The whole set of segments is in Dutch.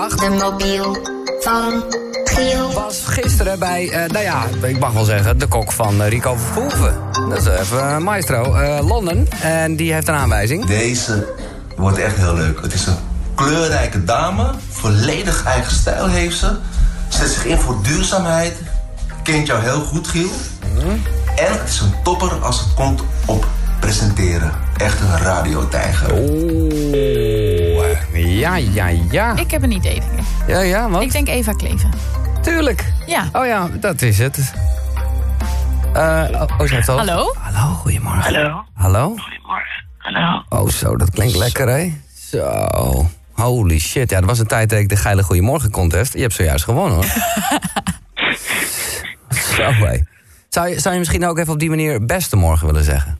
de mobiel van Giel. Was gisteren bij, eh, nou ja, ik mag wel zeggen, de kok van eh, Rico Verhoeven. Dat is even eh, maestro. eh London, en die heeft een aanwijzing. Deze wordt echt heel leuk. Het is een kleurrijke dame. Volledig eigen stijl heeft ze. Zet zich in voor duurzaamheid. Kent jou heel goed, Giel. En het is een topper als het komt op presenteren. Echt een radiotijger. Oeh, ja, ja, ja. Ik heb een idee, denk ik. Ja, ja, wat? Ik denk Eva Kleven. Tuurlijk. Ja. Oh ja, dat is het. Eh, oh, oh, ze heeft al... Hallo? Hallo, goedemorgen. Hallo. Hallo? Goedemorgen. Hallo. Oh, zo, dat klinkt lekker, hè? Zo. Holy shit. Ja, dat was een tijd dat ik de geile Goedemorgen contest. Je hebt zojuist gewonnen, hoor. zo, hé. Zou je, zou je misschien ook even op die manier beste morgen willen zeggen?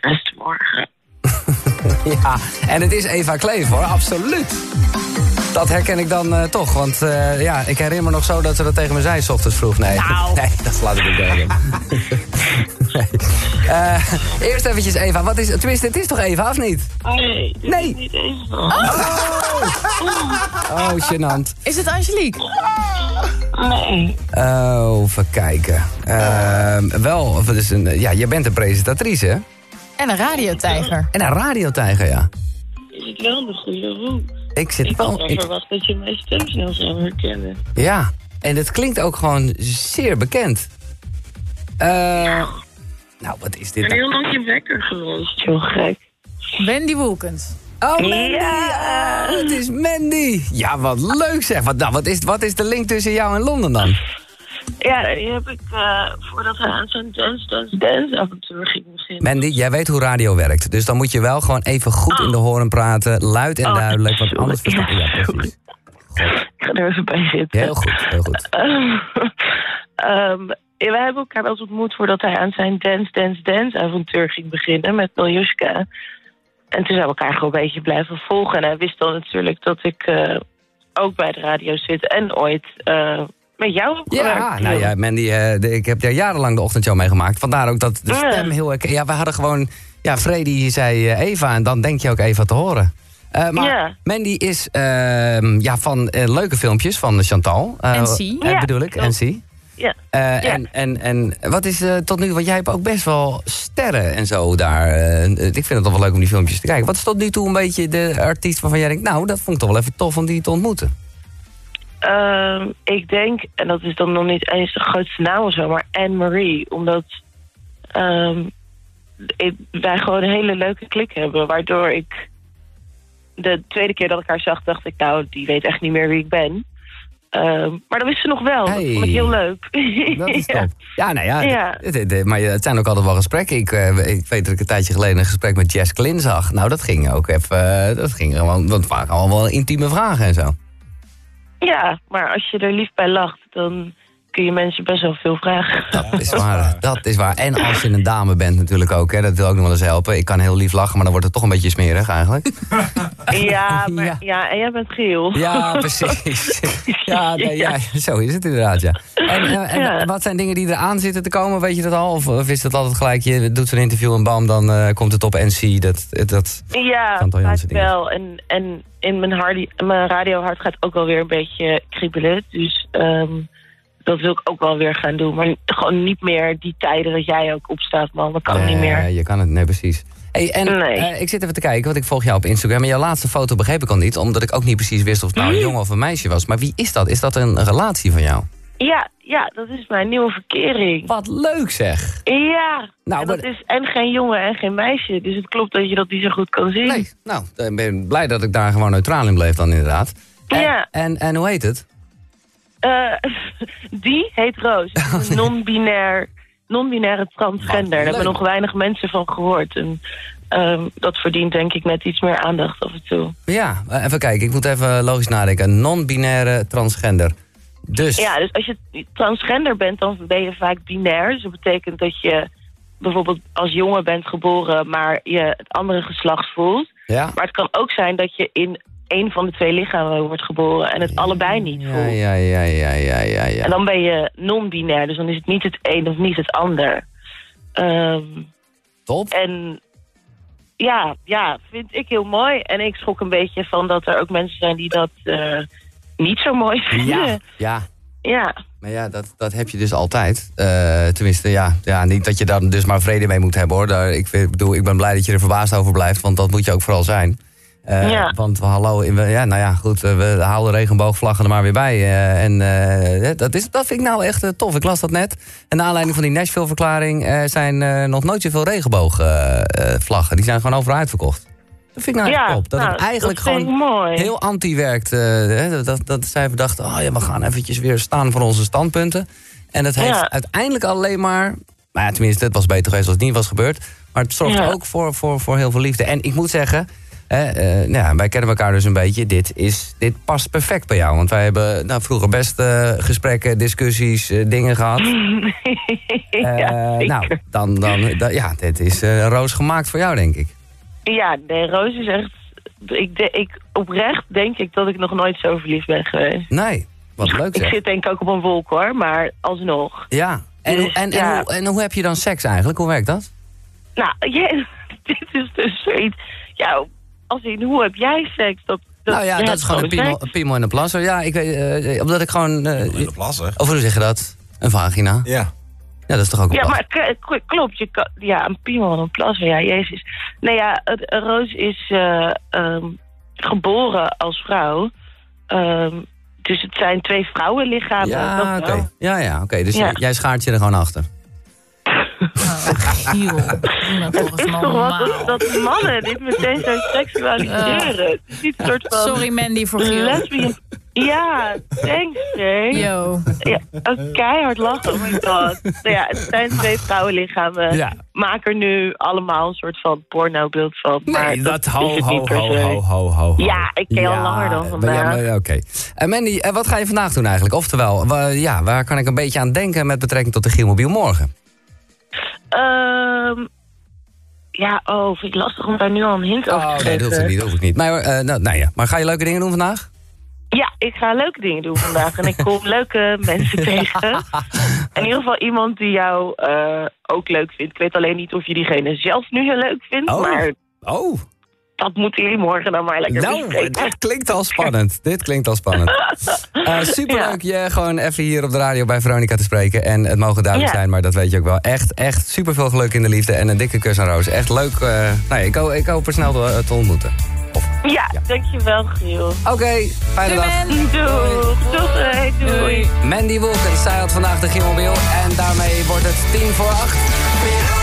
Beste morgen. Ja, en het is Eva Kleef, hoor. Absoluut. Dat herken ik dan eh, toch, want eh, ja, ik herinner me nog zo dat ze dat tegen me zei, s ochtends vroeg. Nee, Nou. nee dat slaat ik niet tegen. nee. Eh, eerst eventjes Eva, wat is, tenminste, het is toch Eva, of niet? Nee, dit Nee. is niet eens. Oh, gênant. Is het Angelique? Nee. Oh, even kijken. Ehm, wel, of het is een, ja, je bent een presentatrice, hè? En een radiotijger. En een radiotijger, ja. Je zit wel in de goede roep. Ik zit Oh, Ik had wel... wel ik- verwacht dat je mijn stem snel zou herkennen. ja, en het klinkt ook gewoon zeer bekend. Eh, nou, wat is dit Ik dan? ben heel lang je wekker geweest. Zo gek. Wendy Wilkins. Oh, Mandy! Oh, het is Mandy! Ja, wat leuk zeg. Wat, nou, wat, is, wat is de link tussen jou en Londen dan? Ja, die heb ik eh, voordat hij aan zijn Dance Dance Dance avontuur ging beginnen. Mandy, jij weet hoe radio werkt. Dus dan moet je wel gewoon even goed in de horen praten. Luid en Oh, duidelijk, want sorry. anders versta Ja, Ja, sorry. precies. Ik ga er even bij zitten. Heel goed, heel goed. Ehm, ja, wij hebben elkaar wel eens ontmoet voordat hij aan zijn Dance, Dance, Dance avontuur ging beginnen met Miljuska. En toen zijn we elkaar gewoon een beetje blijven volgen. En hij wist dan natuurlijk dat ik eh, ook bij de radio zit en ooit eh, met jou heb Ja, gewerkt. nou ja, Mandy, eh, de- ik heb daar jarenlang de ochtendshow meegemaakt. Vandaar ook dat de Ah, Ja. stem heel herken- Ja, we hadden gewoon... Ja, Freddy zei eh, Eva en dan denk je ook Eva te horen. Eh, maar Ja. Mandy is ehm, ja, van eh, leuke filmpjes van Chantal. Eh, NC. eh, Ja, bedoel ik, klopt. NC. Ja. Eh, en, en, en wat is eh, tot nu... Want jij hebt ook best wel sterren en zo daar. eh, eh, ik vind het toch wel leuk om die filmpjes te kijken. Wat is tot nu toe een beetje de artiest waarvan jij denkt... Nou, dat vond ik toch wel even tof om die te ontmoeten. Ehm, ik denk, en dat is dan nog niet eens de grootste naam of zo, maar Anne-Marie. Omdat ehm, ik- wij gewoon een hele leuke klik hebben. Waardoor ik de tweede keer dat ik haar zag, dacht ik, nou, die weet echt niet meer wie ik ben. Ehm, maar dat wist ze nog wel. Hey. Dat vond ik heel leuk. Dat is top. Ja. Ja, nou ja. Ja. d- d- d- maar eh, het zijn ook altijd wel gesprekken. Ik, eh, ik weet dat ik een tijdje geleden een gesprek met Jess Klin zag. Nou, dat ging ook even... eh, dat ging gewoon... Dat waren allemaal wel intieme vragen en zo. Ja, maar als je er lief bij lacht, dan kun je mensen best wel veel vragen. Dat is waar. Dat is waar. En als je een dame bent natuurlijk ook. Hè, dat wil ook nog wel eens helpen. Ik kan heel lief lachen, maar dan wordt het toch een beetje smerig eigenlijk. Ja, maar, Ja. ja. en jij bent geel. Ja, precies. Ja, nee, ja, zo is het inderdaad, ja. En, eh, en Ja. wat zijn dingen die eraan zitten te komen? Weet je dat al? Of, of is dat altijd gelijk? Je doet zo'n interview en bam, dan eh, komt het op NC. Dat, dat, Ja, Chantal vaak Jansen dingen. wel. En, en in mijn, hardi, mijn radiohart gaat ook wel weer een beetje kriebelen. Dus ehm, dat wil ik ook wel weer gaan doen. Maar gewoon niet meer die tijden dat jij ook opstaat, man. Dat kan Nee, niet meer. Je kan het, nee, precies. Hey, en Nee. eh, ik zit even te kijken, want ik volg jou op Instagram. En jouw laatste foto begreep ik al niet, omdat ik ook niet precies wist of het Mm. nou een jongen of een meisje was. Maar wie is dat? Is dat een relatie van jou? Ja, ja, dat is mijn nieuwe verkering. Wat leuk zeg. Ja, Nou, en dat maar- is en geen jongen en geen meisje. Dus het klopt dat je dat niet zo goed kan zien. Nee, nou, ik ben blij dat ik daar gewoon neutraal in bleef dan inderdaad. En, Ja. en, en hoe heet het? Eh, die heet Roos. Oh, Het is een non-binair, non-binaire transgender. Daar hebben Ah, leuk. nog weinig mensen van gehoord. En, ehm, dat verdient denk ik net iets meer aandacht af en toe. Ja, eh, even kijken, ik moet even logisch nadenken. Non-binaire transgender. Dus, Ja, dus als je transgender bent, dan ben je vaak binair. Dus dat betekent dat je bijvoorbeeld als jongen bent geboren, maar je het andere geslacht voelt. ja? Maar het kan ook zijn dat je in één van de twee lichamen wordt geboren en het allebei niet Ja, voelt. ja, ja, ja, ja, ja, ja. En dan ben je non-binair, dus dan is het niet het een of niet het ander. Ehm Top. En ja, ja, vind ik heel mooi. En ik schrok een beetje van dat er ook mensen zijn die dat eh, niet zo mooi vinden. Ja, ja. ja. Maar ja, dat, dat heb je dus altijd. Eh, tenminste, ja, ja, niet dat je daar dus maar vrede mee moet hebben hoor. Daar, ik vind- bedoel, ik ben blij dat je er verbaasd over blijft, want dat moet je ook vooral zijn. Eh, Ja. Want we- hallo, in- we- ja, nou ja, goed, eh, we halen de regenboogvlaggen er maar weer bij. eh, en eh, dat, is, dat vind ik nou echt eh, tof. Ik las dat net. En naar aanleiding van die Nashville-verklaring eh, zijn eh, nog nooit zoveel regenboogvlaggen. Eh, Die zijn gewoon overal uitverkocht. Dat vind ik nou echt Ja, top. Dat nou, het eigenlijk dat vind gewoon ik mooi. heel anti werkt. eh, hè, dat, dat zij verdachten, oh ja, we gaan eventjes weer staan voor onze standpunten. En dat heeft Ja. uiteindelijk alleen maar... Maar ja, tenminste, het was beter geweest als het niet was gebeurd. Maar het zorgt Ja. ook voor, voor, voor heel veel liefde. En ik moet zeggen, hè, eh, nou ja, wij kennen elkaar dus een beetje. Dit, is, dit past perfect bij jou. Want wij hebben nou, vroeger best eh, gesprekken, discussies, eh, dingen gehad. Eh, ja, nou, zeker. dan, dan, dan- ja, dit is eh, een roos gemaakt voor jou, denk ik. Ja, nee, Roos is echt... Ik, de- ik, oprecht denk ik dat ik nog nooit zo verliefd ben geweest. Nee, wat leuk Ik zeg. zit denk ik ook op een wolk hoor, maar alsnog. Ja. En, Dus, hoe- en, en, ja. hoe, en hoe heb je dan seks eigenlijk? Hoe werkt dat? Nou, je, dit is dus zoiets... Ja, als in, hoe heb jij seks? Dat, dat, nou ja, jij dat hebt is gewoon een seks. piemel, een piemel en een plasser. Ja, ik weet, eh, omdat ik gewoon... eh, In de plasser. of hoe zeg je dat? Een vagina. Ja, Ja. dat is toch ook een Ja, plas? maar k- k- klopt. Je kan, ja, een piemel en een plasma. Ja, jezus. Nee, ja, het- Roos is eh, ehm, geboren als vrouw. Ehm, dus het zijn twee vrouwenlichamen. dat Ja, wel. oké. Ja, ja, oké. Dus Ja. jij- jij schaart je er gewoon achter. Oh, Giel. Doe nou toch Het is eens toch wat normaal. dat mannen dit meteen zo seksualiseren. Het is niet een soort van... Sorry Mandy voor Giel. Lesbian. Ja, thanks, Jay. Yo. Ja, oh, keihard lachen, oh my god. Nou ja, het zijn twee vrouwenlichamen. Ja. Maak er nu allemaal een soort van pornobeeld van. maar is het niet per se. ho, ho. Ja, ik ken je al langer dan maar ja, vandaag. maar ja, Oké. En Mandy, eh, wat ga je vandaag doen eigenlijk? Oftewel, wa- ja, waar kan ik een beetje aan denken met betrekking tot de Gielmobiel morgen? Ehm, ja, oh, vind ik lastig om daar nu al een hint over te Oh, nee, dat hoeft geven. ik niet, dat hoef ik niet. Maar, eh, nou, nou ja. maar ga je leuke dingen doen vandaag? Ja, ik ga leuke dingen doen vandaag. En ik kom leuke mensen tegen. In ieder geval iemand die jou eh, ook leuk vindt. Ik weet alleen niet of je diegene zelf nu heel leuk vindt. Oh. Maar Oh, dat moeten jullie morgen dan maar lekker Nou, bespreken. dit klinkt al spannend. Dit klinkt al spannend. Eh superleuk je gewoon even hier op de radio bij Veronica te spreken. En het mogen duidelijk Ja. zijn, maar dat weet je ook wel. Echt, echt superveel geluk in de liefde en een dikke kus aan Roos. Echt leuk. eh, nou, ik, ho- ik hoop er snel eh, te, te ontmoeten. Of- Ja, dankjewel, Giel. Oké, fijne Doei, dag. Mandy. Doeg, doei, doei. Mandy Wolkens, zij had vandaag de Gimmelbeel. En daarmee wordt het 10 voor 8.